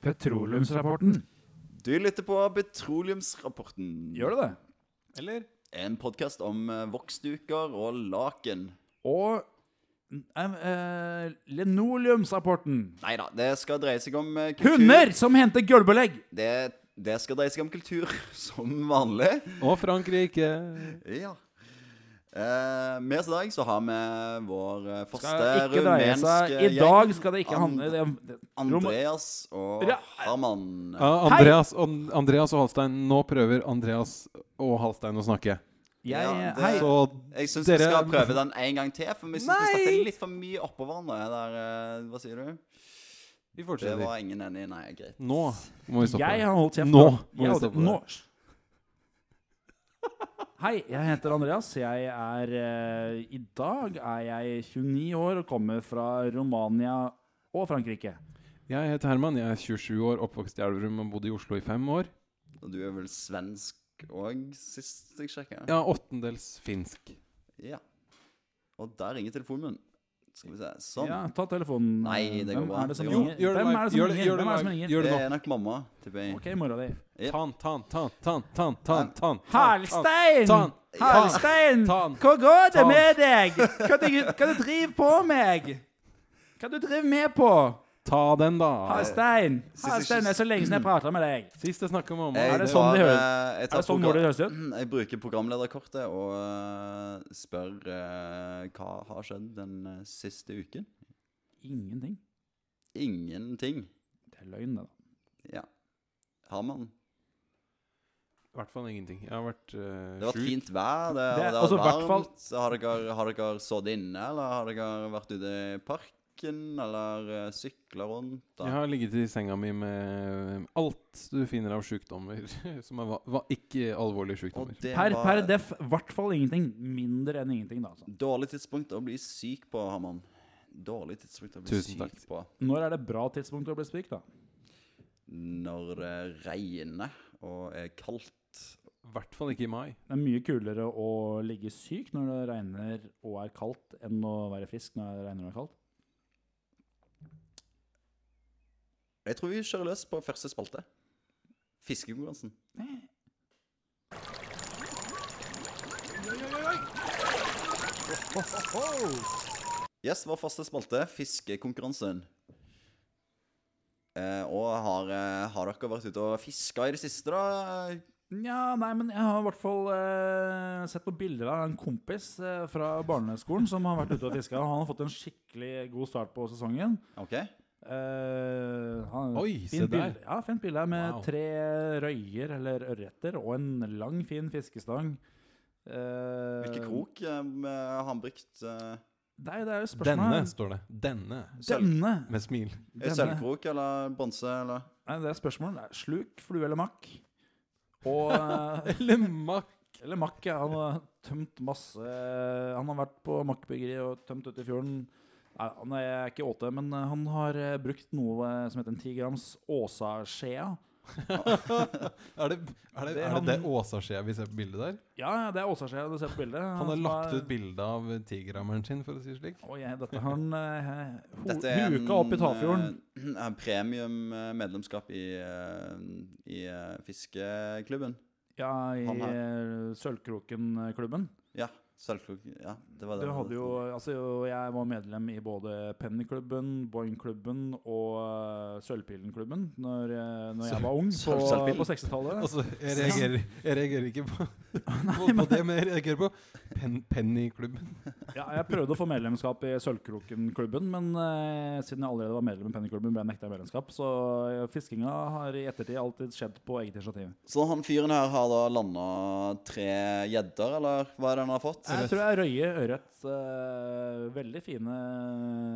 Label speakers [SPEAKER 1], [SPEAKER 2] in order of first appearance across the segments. [SPEAKER 1] Petroleumsrapporten.
[SPEAKER 2] Du lytter på Petroleumsrapporten.
[SPEAKER 1] Gjør du det? Eller?
[SPEAKER 2] En podkast om eh, voksduker og laken.
[SPEAKER 1] Og em, eh, linoleumsrapporten.
[SPEAKER 2] Nei da, det skal dreie seg om eh, kultur.
[SPEAKER 1] Hunder som henter gulvbelegg.
[SPEAKER 2] Det, det skal dreie seg om kultur, som vanlig.
[SPEAKER 3] Og Frankrike.
[SPEAKER 2] Ja. Eh, med oss i dag så har vi vår eh, faste
[SPEAKER 1] Skal ikke dreie seg
[SPEAKER 2] rumenske
[SPEAKER 1] I
[SPEAKER 2] gjeng.
[SPEAKER 1] dag skal det ikke
[SPEAKER 2] And-
[SPEAKER 1] handle det, det,
[SPEAKER 2] Andreas og
[SPEAKER 1] Ja.
[SPEAKER 2] Herman.
[SPEAKER 3] Ah, Andreas, og- Andreas og Halstein. Nå prøver Andreas og Halstein å snakke.
[SPEAKER 1] jeg,
[SPEAKER 2] Ja, det-
[SPEAKER 1] Hei.
[SPEAKER 3] Så
[SPEAKER 2] Jeg syns vi
[SPEAKER 3] dere-
[SPEAKER 2] skal prøve den en gang til, for vi syns vi
[SPEAKER 3] Nei!
[SPEAKER 2] snakker litt for mye oppå hverandre. Der, eh, hva sier du?
[SPEAKER 3] vi
[SPEAKER 2] Det
[SPEAKER 3] fortsetter.
[SPEAKER 2] var ingen enig. Nei, greit.
[SPEAKER 3] Nå må vi stoppe.
[SPEAKER 1] Jeg har holdt kjeft.
[SPEAKER 3] Nå må
[SPEAKER 1] Jeg
[SPEAKER 3] vi
[SPEAKER 1] holdt-
[SPEAKER 3] stoppe.
[SPEAKER 1] nå. Hei, jeg heter Andreas. Jeg er eh, I dag er jeg 29 år og kommer fra Romania og Frankrike.
[SPEAKER 3] Jeg heter Herman, jeg er 27 år, oppvokst i Elverum og bodde i Oslo i fem år.
[SPEAKER 2] Og du er vel svensk òg, sist jeg sjekka?
[SPEAKER 3] Ja, åttendels finsk.
[SPEAKER 2] Ja. Og der ringer telefonen min. Skal vi se. Sånn.
[SPEAKER 1] Ja, ta telefonen.
[SPEAKER 2] Nei, det går
[SPEAKER 1] Hvem
[SPEAKER 2] bra.
[SPEAKER 1] Er det som
[SPEAKER 2] Det går
[SPEAKER 1] ringer?
[SPEAKER 3] bra. Gjør det
[SPEAKER 1] Hvem
[SPEAKER 3] live.
[SPEAKER 1] er det som
[SPEAKER 3] Gjør det-
[SPEAKER 1] ringer?
[SPEAKER 3] gjør det
[SPEAKER 1] Hvem er det som
[SPEAKER 3] live.
[SPEAKER 1] ringer?
[SPEAKER 3] Gjør det
[SPEAKER 2] Det
[SPEAKER 3] nå.
[SPEAKER 2] er nok mamma, tipper jeg.
[SPEAKER 1] Ok, mora di.
[SPEAKER 2] Yep.
[SPEAKER 3] Tan, tan, tan, tan, tan, tan, tan.
[SPEAKER 1] Halstein!
[SPEAKER 3] Tan!
[SPEAKER 1] Halstein!
[SPEAKER 3] Tan!
[SPEAKER 1] Hva går det
[SPEAKER 3] Tan!
[SPEAKER 1] med deg? Hva du, hva du driver på meg? Hva du driver med på?
[SPEAKER 3] Ta den, da.
[SPEAKER 1] Halstein!
[SPEAKER 2] Sist jeg
[SPEAKER 1] Halstein, det er så lenge siden jeg prater med deg.
[SPEAKER 3] Sist jeg snakka med mamma.
[SPEAKER 2] Jeg
[SPEAKER 1] Er det
[SPEAKER 2] tar,
[SPEAKER 1] sånn det høres-
[SPEAKER 2] eh, jeg tar
[SPEAKER 1] Er det sånn
[SPEAKER 2] program-
[SPEAKER 1] hvor det høres ut?
[SPEAKER 2] Jeg bruker programlederkortet og eh, spør eh, hva har skjedd den eh, siste uken.
[SPEAKER 1] Ingenting.
[SPEAKER 2] Ingenting.
[SPEAKER 1] Det er løgn, det, da.
[SPEAKER 2] Ja. Herman.
[SPEAKER 3] I hvert fall ingenting. Jeg har vært eh,
[SPEAKER 2] Det har vært
[SPEAKER 3] sjuk.
[SPEAKER 2] fint vær. Det,
[SPEAKER 1] Det er
[SPEAKER 2] det har
[SPEAKER 1] altså
[SPEAKER 2] vært
[SPEAKER 1] hvert fall-
[SPEAKER 2] varmt. Har dere, har dere sittet inne, eller har dere vært ute i parken, eller eh, sykla rundt? Da?
[SPEAKER 3] Jeg har ligget i senga mi med alt du finner av sykdommer som er va va ikke alvorlige
[SPEAKER 2] Og
[SPEAKER 3] sykdommer.
[SPEAKER 2] det
[SPEAKER 1] Per,
[SPEAKER 2] var
[SPEAKER 1] per def, i hvert fall ingenting. Mindre enn ingenting, da. Altså.
[SPEAKER 2] dårlig tidspunkt å bli syk på, Herman. Dårlig tidspunkt å bli
[SPEAKER 3] Tusen takk.
[SPEAKER 2] syk på.
[SPEAKER 1] Når er det bra tidspunkt å bli syk, da?
[SPEAKER 2] Når det regner og er kaldt.
[SPEAKER 3] I hvert fall ikke i mai.
[SPEAKER 1] Det er mye kulere å ligge syk når det regner og er kaldt, enn å være frisk når det regner og er kaldt.
[SPEAKER 2] Jeg tror vi kjører løs på første spalte. Fiskekonkurransen. Yes, vår faste spalte, fiskekonkurransen. Eh, og har, eh, har dere vært ute og fiska i det siste, da?
[SPEAKER 1] Nja, nei, men jeg har i hvert fall eh, sett på bilder av en kompis eh, fra barneskolen som har vært ute og fiska. Han har fått en skikkelig god start på sesongen.
[SPEAKER 2] OK.
[SPEAKER 1] Eh, han,
[SPEAKER 3] Oi, se
[SPEAKER 1] fint
[SPEAKER 3] der.
[SPEAKER 1] bilde- Ja, fint bilde her med
[SPEAKER 3] Wow.
[SPEAKER 1] tre røyer eller ørreter og en lang, fin fiskestang. Eh,
[SPEAKER 2] Hvilken krok eh, har han brukt? Eh,
[SPEAKER 1] Nei, det er jo spørsmålet.
[SPEAKER 3] Denne, står det. Denne.
[SPEAKER 2] sølv,
[SPEAKER 1] Denne.
[SPEAKER 3] Med smil.
[SPEAKER 2] er
[SPEAKER 1] Denne.
[SPEAKER 2] det sølvkrok eller bronse? Eller?
[SPEAKER 1] Nei, det er spørsmålet. Det er sluk, flue eller makk? Og eh,
[SPEAKER 3] Eller makk.
[SPEAKER 1] Eller makk, ja. Han har tømt masse eh, Han har vært på makkbyggeri og tømt ute i fjorden. Nei, han er ikke åte, men han har eh, brukt noe som heter en 10 grams Åsa-skjea.
[SPEAKER 3] Er det er det,
[SPEAKER 1] Det
[SPEAKER 3] er
[SPEAKER 1] han-
[SPEAKER 3] det, det Åsa-skjea vi ser på bildet der?
[SPEAKER 1] Ja, det er Åsa-skjea du ser på bildet.
[SPEAKER 3] Han har lagt ut bilde av tigrammeren sin, for å si det slik.
[SPEAKER 1] Oi, dette har han eh, ho-
[SPEAKER 2] Dette er en,
[SPEAKER 1] huka opp i Tafjorden.
[SPEAKER 2] eh, en premium eh, medlemskap i, eh, i eh, fiskeklubben.
[SPEAKER 1] Ja, i
[SPEAKER 2] han
[SPEAKER 1] eh, Sølvkroken-klubben.
[SPEAKER 2] Ja, sølvkrok. Ja, det var
[SPEAKER 1] Du
[SPEAKER 2] det.
[SPEAKER 1] hadde jo Altså, jo, jeg var medlem i både Pennyklubben, Boing-klubben og eh, Sølvpillen-klubben når, eh, når jeg var ung på,
[SPEAKER 2] Sølvpillen.
[SPEAKER 1] på 60-tallet.
[SPEAKER 3] Altså, jeg reagerer, jeg reagerer ikke på, på, på det, men jeg reagerer på pen, Pennyklubben.
[SPEAKER 1] Ja, jeg prøvde å få medlemskap i Sølvkroken-klubben, men eh, siden jeg allerede var medlem i Pennyklubben, ble jeg nekta medlemskap. Så eh, fiskinga har i ettertid alltid skjedd på eget initiativ.
[SPEAKER 2] Så han fyren her har da landa tre gjedder, eller hva er det han har fått?
[SPEAKER 1] Jeg tror jeg røye ørret eh, Veldig fine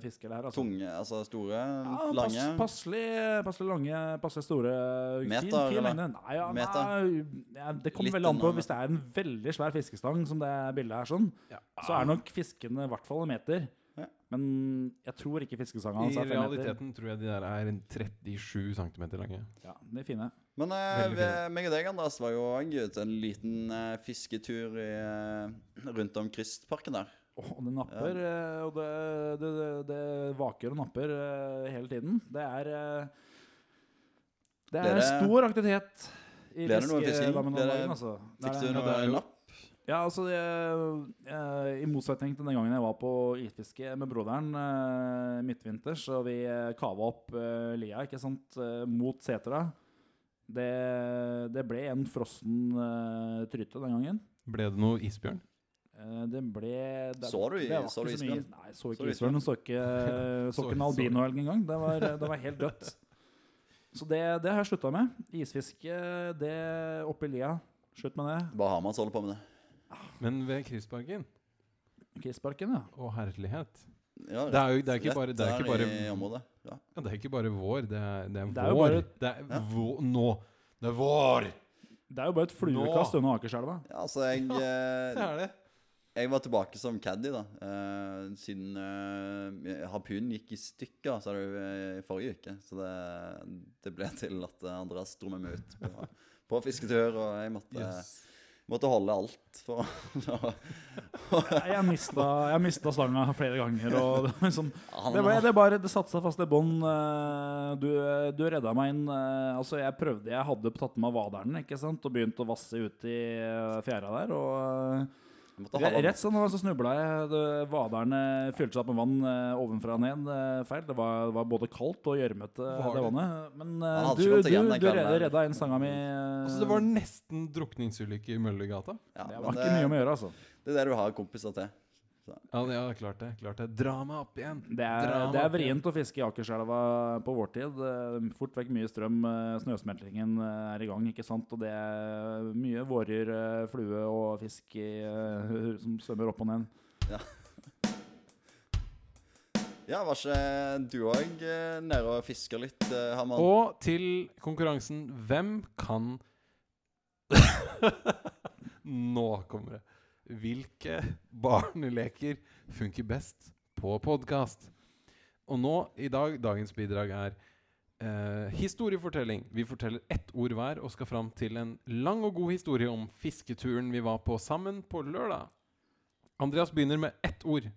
[SPEAKER 1] fisker der. Altså.
[SPEAKER 2] Tunge, altså store,
[SPEAKER 1] Ja, pass,
[SPEAKER 2] lange.
[SPEAKER 1] passelig, passelig lange, passelig store. Fin-
[SPEAKER 2] Meter,
[SPEAKER 1] fin
[SPEAKER 2] eller?
[SPEAKER 1] mengde. Nei, ja,
[SPEAKER 2] Meter?
[SPEAKER 1] nei, ja, det
[SPEAKER 2] Litt
[SPEAKER 1] kommer veldig an på.
[SPEAKER 2] unna,
[SPEAKER 1] Hvis det er en veldig svær fiskestang, som det bildet er sånn, så er nok fiskene i hvert fall en meter.
[SPEAKER 2] Ja.
[SPEAKER 1] Men jeg tror ikke fiskestanga
[SPEAKER 3] I
[SPEAKER 1] hans er fem meter.
[SPEAKER 3] realiteten tror jeg de der er en 37 cm lange.
[SPEAKER 1] Ja, de er fine.
[SPEAKER 2] Men eh,
[SPEAKER 3] Veldig
[SPEAKER 2] vi, meg og deg, Andreas, var jo også ute en liten eh, fisketur i, eh, rundt om Kristparken der.
[SPEAKER 1] Åh, det napper, eh, og det, det, det, det vaker og napper eh, hele tiden. Det er eh, Det
[SPEAKER 2] Blir
[SPEAKER 1] er
[SPEAKER 2] det-
[SPEAKER 1] stor aktivitet i
[SPEAKER 2] Blir det noe fisking?
[SPEAKER 1] fiskelammen om
[SPEAKER 2] Blir det-
[SPEAKER 1] dagen. Altså. Det
[SPEAKER 2] Fikk
[SPEAKER 1] er
[SPEAKER 2] du
[SPEAKER 1] det.
[SPEAKER 3] ja,
[SPEAKER 2] noe
[SPEAKER 3] det er jo-
[SPEAKER 2] napp?
[SPEAKER 1] Ja, altså det, eh, I motsetning til den gangen jeg var på isfiske med broderen eh, midtvinters, og vi eh, kava opp eh, lia ikke sant, eh, mot setra det, det ble en frossen eh, tryte den gangen.
[SPEAKER 3] Ble det noe isbjørn?
[SPEAKER 1] Eh, det ble det,
[SPEAKER 2] Så du i-
[SPEAKER 1] det var
[SPEAKER 2] så du
[SPEAKER 1] ikke så mye-
[SPEAKER 2] isbjørn?
[SPEAKER 1] Nei, så
[SPEAKER 2] Så
[SPEAKER 1] ikke
[SPEAKER 2] du isbjørn?
[SPEAKER 1] isbjørn. Så ikke, så
[SPEAKER 3] Så-
[SPEAKER 1] ikke en
[SPEAKER 3] så-
[SPEAKER 1] albinoelg engang. Det var, det var helt dødt. Så det, det har jeg slutta med. Isfiske, det oppi lia. Slutt med det.
[SPEAKER 2] Bahamas holder på med det.
[SPEAKER 3] Men ved Krigsparken?
[SPEAKER 1] Kissparken, ja.
[SPEAKER 3] Å, herlighet.
[SPEAKER 2] Ja,
[SPEAKER 3] Det er jo det er ikke bare, det er
[SPEAKER 2] rett
[SPEAKER 3] ikke bare,
[SPEAKER 2] der i området. Ja.
[SPEAKER 3] ja, det er ikke bare vår, det er, det er
[SPEAKER 1] Det er jo
[SPEAKER 3] vår.
[SPEAKER 1] bare-
[SPEAKER 3] Det er
[SPEAKER 2] Ja.
[SPEAKER 3] vå- nå. Det er vår!
[SPEAKER 1] Det er jo bare et fluekast unna Akerselva.
[SPEAKER 2] ja, altså jeg
[SPEAKER 3] Det
[SPEAKER 2] eh,
[SPEAKER 3] er det.
[SPEAKER 2] Jeg var tilbake som caddy, da. eh, siden eh, harpunen gikk i stykker sa du, eh, i forrige uke. Så det, det ble til at eh, Andreas dro meg med ut på, på fisketur, og jeg måtte,
[SPEAKER 3] Yes.
[SPEAKER 2] måtte holde alt for å
[SPEAKER 1] Nei, Jeg mista, jeg mista slanga flere ganger. Og det, var liksom,
[SPEAKER 2] Han-
[SPEAKER 1] det, var, det, bare, det satte seg fast i bånd. eh, Du, du redda meg inn. eh, Altså, jeg prøvde Jeg hadde tatt med meg vaderen ikke sant? og begynt å vasse ut i eh, fjæra der. Og
[SPEAKER 2] jeg måtte
[SPEAKER 1] eh,
[SPEAKER 2] holde
[SPEAKER 1] re-
[SPEAKER 2] alt.
[SPEAKER 1] rett som det var, så snubla jeg. Det- Vaderen eh, fylte seg opp med vann eh, ovenfra og ned. eh, Feil. Det var, det var både kaldt og gjørmete,
[SPEAKER 3] Var
[SPEAKER 1] det
[SPEAKER 3] det?
[SPEAKER 1] vannet. Men eh,
[SPEAKER 2] Han hadde
[SPEAKER 1] du,
[SPEAKER 2] ikke kommet
[SPEAKER 1] du,
[SPEAKER 2] igjen den
[SPEAKER 1] du
[SPEAKER 2] kvelden
[SPEAKER 1] redda,
[SPEAKER 2] her.
[SPEAKER 1] redda inn stanga mi. eh,
[SPEAKER 3] Altså, det var nesten drukningsulykke i Møllergata.
[SPEAKER 2] Ja,
[SPEAKER 1] det
[SPEAKER 2] men
[SPEAKER 1] var
[SPEAKER 2] det-
[SPEAKER 1] ikke mye om å gjøre, altså.
[SPEAKER 2] Det er det du har kompiser til.
[SPEAKER 3] Ja, det- ja, klart det. klart det. Dra meg opp igjen!
[SPEAKER 1] Det er,
[SPEAKER 3] Dra meg
[SPEAKER 1] det er
[SPEAKER 3] opp igjen.
[SPEAKER 1] vrient å fiske i Akerselva på vårtid. Eh, Fort vekk mye strøm. eh, Snøsmeltingen eh, er i gang, ikke sant. Og det er mye vårer, eh, flue og fisk i, eh, som svømmer opp og ned.
[SPEAKER 2] Ja, var ikke eh, du òg nede og fisker litt, eh, Herman?
[SPEAKER 3] Og til konkurransen Hvem kan Nå kommer det. Hvilke barneleker funker best på podkast? Og nå, i dag, dagens bidrag er eh, historiefortelling. Vi forteller ett ord hver og skal fram til en lang og god historie om fisketuren vi var på sammen på lørdag. Andreas begynner med ett ord.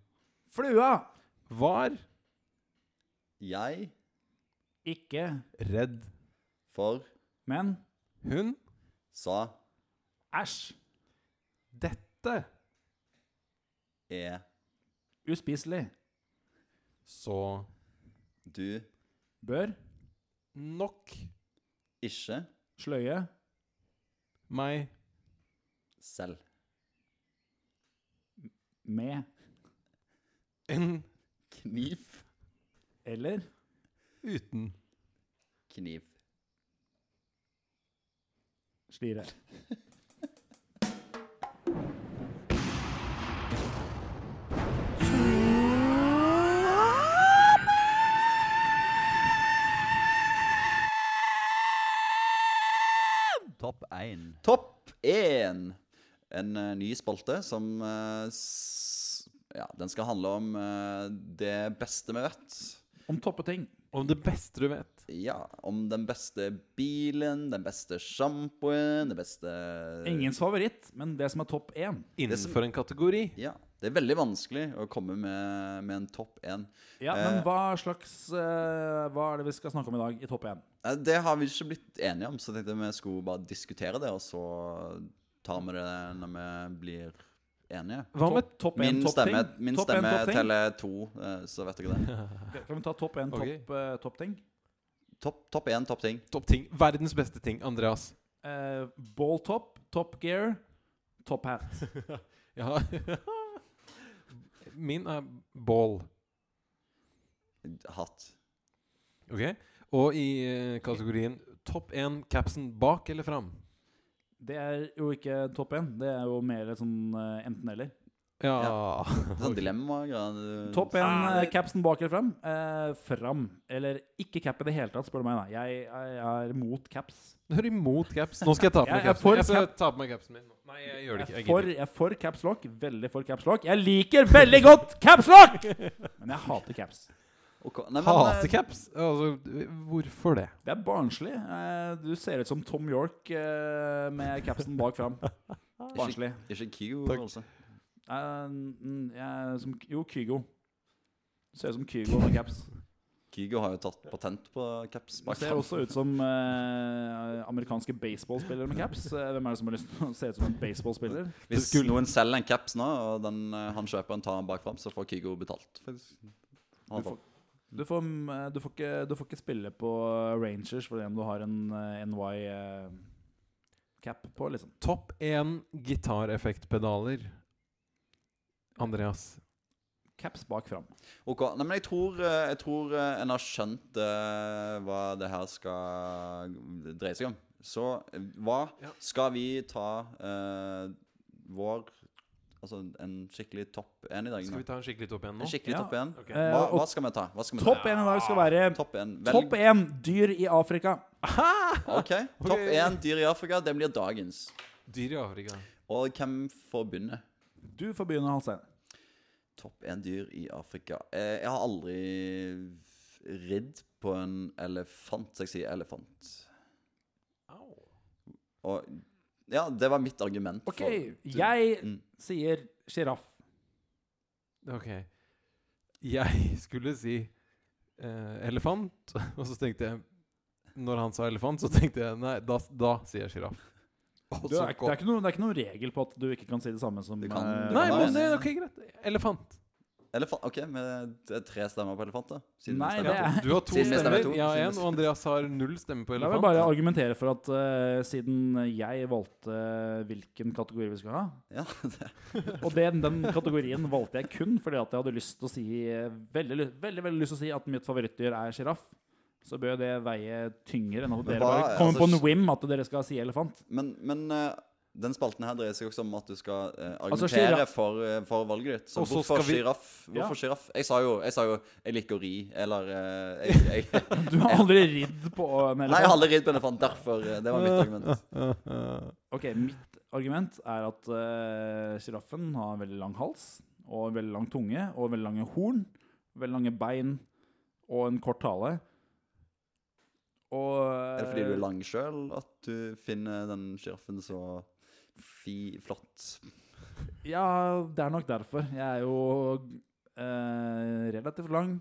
[SPEAKER 1] Flua!
[SPEAKER 3] Var
[SPEAKER 2] Jeg
[SPEAKER 1] Ikke,
[SPEAKER 3] redd
[SPEAKER 2] for
[SPEAKER 1] men
[SPEAKER 3] hun
[SPEAKER 2] sa
[SPEAKER 1] æsj!
[SPEAKER 3] dette
[SPEAKER 2] er
[SPEAKER 1] Uspiselig.
[SPEAKER 3] så
[SPEAKER 2] du
[SPEAKER 1] Bør.
[SPEAKER 3] nok
[SPEAKER 2] ikke
[SPEAKER 1] Sløye.
[SPEAKER 3] meg
[SPEAKER 2] selv
[SPEAKER 1] Med.
[SPEAKER 3] en
[SPEAKER 2] kniv.
[SPEAKER 1] Eller.
[SPEAKER 3] uten
[SPEAKER 2] Kniv.
[SPEAKER 1] Slire.
[SPEAKER 2] Topp 1. Topp 1! En eh, ny spalte som eh, s Ja, den skal handle om eh, det beste vi vet.
[SPEAKER 1] Om toppe ting.
[SPEAKER 3] Om det beste du vet.
[SPEAKER 2] Ja, om den beste bilen, den beste sjampoen, det beste
[SPEAKER 1] Ingens favoritt, men det som er topp én.
[SPEAKER 3] Innenfor en kategori.
[SPEAKER 2] Ja. Det er veldig vanskelig å komme med, med en topp 1.
[SPEAKER 1] Ja,
[SPEAKER 2] Eh.
[SPEAKER 1] men hva slags eh, Hva er det vi skal snakke om i dag i topp én?
[SPEAKER 2] Nei, eh, Det har vi ikke blitt enige om, så jeg tenkte vi skulle bare diskutere det, og så tar vi det når vi blir enige.
[SPEAKER 3] Hva med
[SPEAKER 1] Topp- topp én,
[SPEAKER 2] Min
[SPEAKER 1] topp
[SPEAKER 2] stemme,
[SPEAKER 1] ting.
[SPEAKER 2] min
[SPEAKER 1] Topp én,
[SPEAKER 2] stemme
[SPEAKER 1] topp ting.
[SPEAKER 2] teller to, eh, så vet dere det.
[SPEAKER 1] Kan vi ta topp én,
[SPEAKER 3] Ok.
[SPEAKER 1] topp, eh, topp ting?
[SPEAKER 2] Topp topp én, topp ting.
[SPEAKER 3] topp ting? Verdens beste ting, Andreas.
[SPEAKER 1] Eh, ball top, top gear, top hat.
[SPEAKER 3] Ja. Min er ball.
[SPEAKER 2] Hatt.
[SPEAKER 3] Ok? Og i eh, kategorien topp én capsen bak eller fram?
[SPEAKER 1] Det er jo ikke topp én, det er jo mer et sånn eh, enten-eller.
[SPEAKER 3] Ja.
[SPEAKER 2] Det er Sånn dilemma-greier.
[SPEAKER 1] Topp én,
[SPEAKER 3] Ah,
[SPEAKER 1] eh,
[SPEAKER 3] det-
[SPEAKER 1] capsen bak eller fram? Eh, fram. Eller ikke cap i det hele tatt, spør du meg. Nei. Jeg, jeg er mot caps.
[SPEAKER 3] Du hører imot caps. Nå skal jeg ta på meg
[SPEAKER 1] Jeg er
[SPEAKER 3] capsen.
[SPEAKER 1] for
[SPEAKER 3] Jeg skal
[SPEAKER 1] cap-
[SPEAKER 3] ta på meg capsen min. nå. Nei, jeg gjør det
[SPEAKER 1] Jeg
[SPEAKER 3] ikke.
[SPEAKER 1] er
[SPEAKER 3] Jeg
[SPEAKER 1] for,
[SPEAKER 3] gidder.
[SPEAKER 1] jeg er for caps lock. Veldig for caps lock. Jeg liker veldig godt caps lock! Men jeg hater caps.
[SPEAKER 2] Ok, Nei, men, eh,
[SPEAKER 3] Hater caps? Altså, hvorfor det?
[SPEAKER 1] Det er barnslig. Eh, Du ser ut som Tom York eh, med capsen bak fram. Barnslig.
[SPEAKER 2] Ikke Kygo,
[SPEAKER 3] Takk.
[SPEAKER 2] altså.
[SPEAKER 1] Eh, mm, jeg, er som, jo, Kygo. Ser ut som Kygo med caps.
[SPEAKER 2] Kygo har jo tatt patent på caps.
[SPEAKER 1] Man ser også ut som eh, amerikanske baseballspillere med caps. Eh, Hvem er det som har lyst til å se ut som en baseballspiller?
[SPEAKER 2] Hvis noen selger en caps nå, og den, eh, han kjøper en tar den bakfram, så får Kygo betalt. faktisk. Han
[SPEAKER 1] Du får, du, får, eh, du, får ikke, du får ikke spille på Rangers fordi om du har en eh, NY eh, cap på, liksom.
[SPEAKER 3] Topp én gitareffektpedaler. Andreas.
[SPEAKER 1] Caps bak fram.
[SPEAKER 2] Ok, Nei, men jeg tror, eh, jeg tror eh, en har skjønt eh, hva det her skal dreie seg om. Så eh, hva
[SPEAKER 3] Ja.
[SPEAKER 2] skal vi ta eh, vår Altså en skikkelig topp én i dag?
[SPEAKER 3] Skal
[SPEAKER 2] nå?
[SPEAKER 3] vi ta en skikkelig topp igjen nå?
[SPEAKER 2] En skikkelig
[SPEAKER 1] Ja,
[SPEAKER 2] topp én?
[SPEAKER 3] ok.
[SPEAKER 2] Hva,
[SPEAKER 1] Eh, og-
[SPEAKER 2] hva skal vi ta? Hva skal vi
[SPEAKER 1] Topp
[SPEAKER 2] ta?
[SPEAKER 1] én i dag skal være
[SPEAKER 2] Topp én.
[SPEAKER 1] Topp én dyr i Afrika.
[SPEAKER 2] OK. Topp én dyr i Afrika. Det blir dagens.
[SPEAKER 3] Dyr i Afrika.
[SPEAKER 2] Og hvem får begynne?
[SPEAKER 1] Du får begynne, Halstein.
[SPEAKER 2] Topp én dyr i Afrika. Eh, Jeg har aldri ridd på en elefant. så Jeg sier elefant.
[SPEAKER 3] Au.
[SPEAKER 2] Og Ja, det var mitt argument.
[SPEAKER 1] OK,
[SPEAKER 2] for-
[SPEAKER 1] jeg
[SPEAKER 2] Mm.
[SPEAKER 1] sier sjiraff.
[SPEAKER 3] Ok. Jeg skulle si eh, elefant, og så tenkte jeg Når han sa elefant, så tenkte jeg nei, da, da sier jeg sjiraff. Og
[SPEAKER 1] Det,
[SPEAKER 3] så
[SPEAKER 1] er ikke-
[SPEAKER 3] kom-
[SPEAKER 1] det, er ikke noe- det er ikke noen regel på at du ikke kan si det samme som
[SPEAKER 2] Du kan-
[SPEAKER 1] eh,
[SPEAKER 3] Nei,
[SPEAKER 2] Ja,
[SPEAKER 3] men
[SPEAKER 2] det
[SPEAKER 3] det
[SPEAKER 2] er
[SPEAKER 3] er ok, greit. Elefant.
[SPEAKER 2] Elefant, ok, men det er tre stemmer på elefant, da? Siden
[SPEAKER 1] Nei,
[SPEAKER 2] vi
[SPEAKER 1] det
[SPEAKER 2] stemmer.
[SPEAKER 1] er-
[SPEAKER 3] Du har to
[SPEAKER 2] Siden vi stemmer
[SPEAKER 3] stemmer,
[SPEAKER 2] to,
[SPEAKER 3] jeg har
[SPEAKER 2] siden vi
[SPEAKER 3] én, og Andreas har null stemme på
[SPEAKER 1] La meg
[SPEAKER 3] elefant.
[SPEAKER 1] bare argumentere for at eh, siden jeg valgte hvilken kategori vi skulle ha,
[SPEAKER 2] Ja, det
[SPEAKER 1] og den, den kategorien valgte jeg kun fordi at jeg hadde lyst til å si eh, veldig, ly- veldig, veldig lyst til å si at mitt favorittdyr er sjiraff, så bør det veie tyngre enn at dere
[SPEAKER 2] hva-
[SPEAKER 1] bare kommer
[SPEAKER 2] altså,
[SPEAKER 1] på en whim at dere skal si elefant.
[SPEAKER 2] Men, men eh, den spalten her dreier seg også om at du skal eh,
[SPEAKER 1] Altså,
[SPEAKER 2] argumentere
[SPEAKER 1] giraff-
[SPEAKER 2] for, eh, for valget ditt. Så
[SPEAKER 3] Og så
[SPEAKER 2] hvorfor
[SPEAKER 3] skal vi-
[SPEAKER 2] sjiraff?
[SPEAKER 1] Ja.
[SPEAKER 2] Hvorfor giraff? Jeg sa jo jeg, sa jo, jeg liker å ri, eller eh, jeg, jeg,
[SPEAKER 1] Du har aldri ridd på en
[SPEAKER 2] Nei, jeg har
[SPEAKER 1] elefant.
[SPEAKER 2] aldri ridd på elefant, derfor eh, Det var mitt argument.
[SPEAKER 1] Ok, mitt argument er at eh, sjiraffen har en veldig lang hals, og en veldig lang tunge, og veldig lange horn, veldig lange bein, og en kort hale. Og
[SPEAKER 2] Er det fordi du er lang sjøl at du finner den sjiraffen så fi, flott?
[SPEAKER 1] eh, Ja, det er nok derfor. Jeg er jo eh, relativt lang.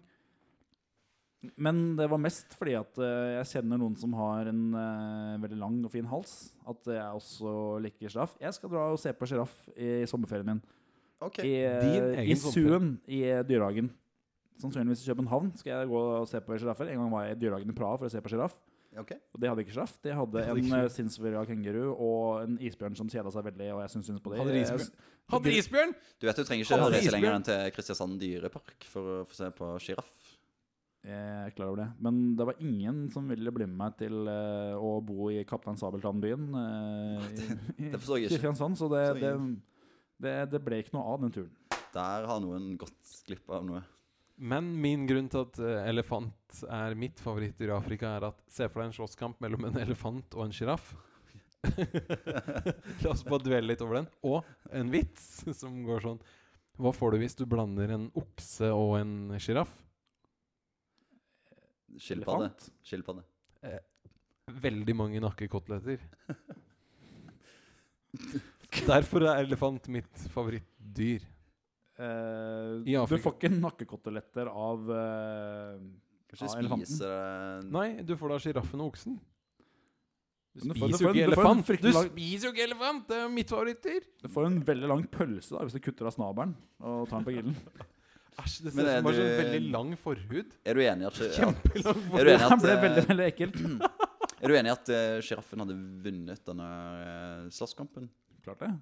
[SPEAKER 1] Men det var mest fordi at eh, jeg kjenner noen som har en eh, veldig lang og fin hals. At jeg også liker sjiraff. Jeg skal dra og se på sjiraff i sommerferien min.
[SPEAKER 2] OK.
[SPEAKER 1] I,
[SPEAKER 3] Din
[SPEAKER 1] eh,
[SPEAKER 3] egen
[SPEAKER 1] i
[SPEAKER 3] sommerferie.
[SPEAKER 1] Suen i eh, dyrehagen. Sannsynligvis i København skal jeg gå og se på sjiraffer. En gang var jeg i dyrehagen i Praha for å se på sjiraff.
[SPEAKER 2] ok.
[SPEAKER 1] Og det hadde ikke sjiraff. Det hadde
[SPEAKER 3] hadde
[SPEAKER 1] en
[SPEAKER 3] ikke-
[SPEAKER 1] eh, sinnsforvirra kenguru og en isbjørn som kjeda seg veldig. Og jeg syns synd på det.
[SPEAKER 3] Hadde
[SPEAKER 1] Jeg-
[SPEAKER 3] isbjørn? Hadde isbjørn!
[SPEAKER 2] Du vet du trenger ikke
[SPEAKER 3] Hadde
[SPEAKER 2] reise
[SPEAKER 3] isbjørn-
[SPEAKER 2] lenger enn til Kristiansand dyrepark for å få se på sjiraff.
[SPEAKER 1] Jeg er klar over det. Men det var ingen som ville bli med meg til eh, å bo i Kaptein Sabeltann-byen. eh, i- i
[SPEAKER 2] det forstår jeg ikke.
[SPEAKER 1] Kristiansand, så det,
[SPEAKER 2] Så
[SPEAKER 1] det, det, det ble ikke noe av den turen.
[SPEAKER 2] Der har noen gått glipp av noe.
[SPEAKER 3] Men min grunn til at eh, elefant er mitt favorittdyr i Afrika, er at se for deg en slåsskamp mellom en elefant og en sjiraff. La oss bare dvele litt over den. Og en vits som går sånn Hva får du hvis du blander en okse og en sjiraff?
[SPEAKER 2] Skilpadde.
[SPEAKER 1] Elefant.
[SPEAKER 2] Skilpadde.
[SPEAKER 3] Veldig mange nakkekoteletter. Derfor er elefant mitt favorittdyr.
[SPEAKER 1] Eh,
[SPEAKER 3] I
[SPEAKER 1] du
[SPEAKER 3] Afrika.
[SPEAKER 1] får ikke nakkekoteletter av eh,
[SPEAKER 2] Kanskje eh,
[SPEAKER 1] Ja, elefanten.
[SPEAKER 2] spise det
[SPEAKER 3] Nei, du får da sjiraffen og oksen. Du
[SPEAKER 1] Men du får- du
[SPEAKER 3] spiser jo
[SPEAKER 1] får en- du får en
[SPEAKER 3] ikke elefant! Du
[SPEAKER 1] fryktelig lang-
[SPEAKER 3] spiser jo ikke elefant! Det er jo mitt favorittdyr!
[SPEAKER 1] Du får en veldig lang pølse da hvis du kutter av snabelen og tar den på grillen.
[SPEAKER 3] Æsj, det
[SPEAKER 2] Men
[SPEAKER 3] ser ut
[SPEAKER 2] er
[SPEAKER 3] som bare sånn
[SPEAKER 2] du-
[SPEAKER 3] veldig lang forhud.
[SPEAKER 2] Er du enig i at
[SPEAKER 3] Kjempelang
[SPEAKER 2] Er du
[SPEAKER 3] forhud.
[SPEAKER 2] enig i
[SPEAKER 1] Det
[SPEAKER 2] at,
[SPEAKER 1] ble veldig,
[SPEAKER 2] eh,
[SPEAKER 1] veldig ekkelt.
[SPEAKER 2] er du enig i at eh, sjiraffen hadde vunnet denne eh, slåsskampen?
[SPEAKER 1] Klart det.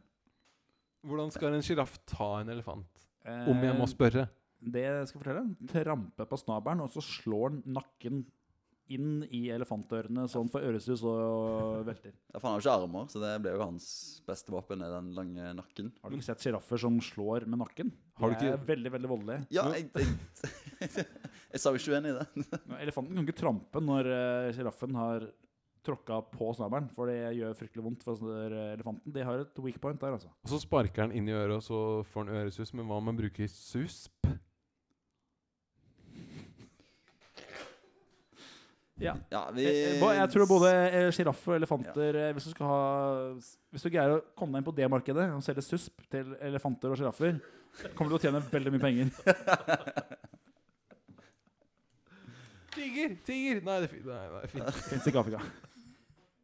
[SPEAKER 3] Hvordan skal en sjiraff ta en elefant?
[SPEAKER 1] Eh,
[SPEAKER 3] Om jeg må spørre.
[SPEAKER 1] Det jeg skal fortelle, trampe på snabelen, og så slår den nakken inn i elefantørene, så den får øresus og velter.
[SPEAKER 2] Ja, for han har jo ikke armer, så det ble jo hans beste våpen, er den lange nakken.
[SPEAKER 1] Har du ikke sett sjiraffer som slår med nakken?
[SPEAKER 3] Har du
[SPEAKER 1] De er
[SPEAKER 3] ikke-
[SPEAKER 1] veldig, veldig voldelige.
[SPEAKER 2] Ja, jeg, jeg, jeg sa jo ikke uenig i det.
[SPEAKER 1] Men Elefanten kan ikke trampe når eh, sjiraffen har tråkka på snabelen, for det gjør fryktelig vondt for eh, elefanten. De har et weak point der, altså.
[SPEAKER 3] Og så sparker han inn i øret, og så får han øresus. Men hva om han bruker susp?
[SPEAKER 1] Ja.
[SPEAKER 2] Ja, vi
[SPEAKER 1] Jeg, Eh, jeg tror både sjiraff og elefanter eh, Hvis du skal ha Hvis du greier å komme deg inn på det markedet og selge susp til elefanter og sjiraffer, kommer du til å tjene veldig mye penger.
[SPEAKER 3] Tiger! Tiger! Nei, det er fint. Nei, det er fint.
[SPEAKER 1] Fins ikke i Afrika.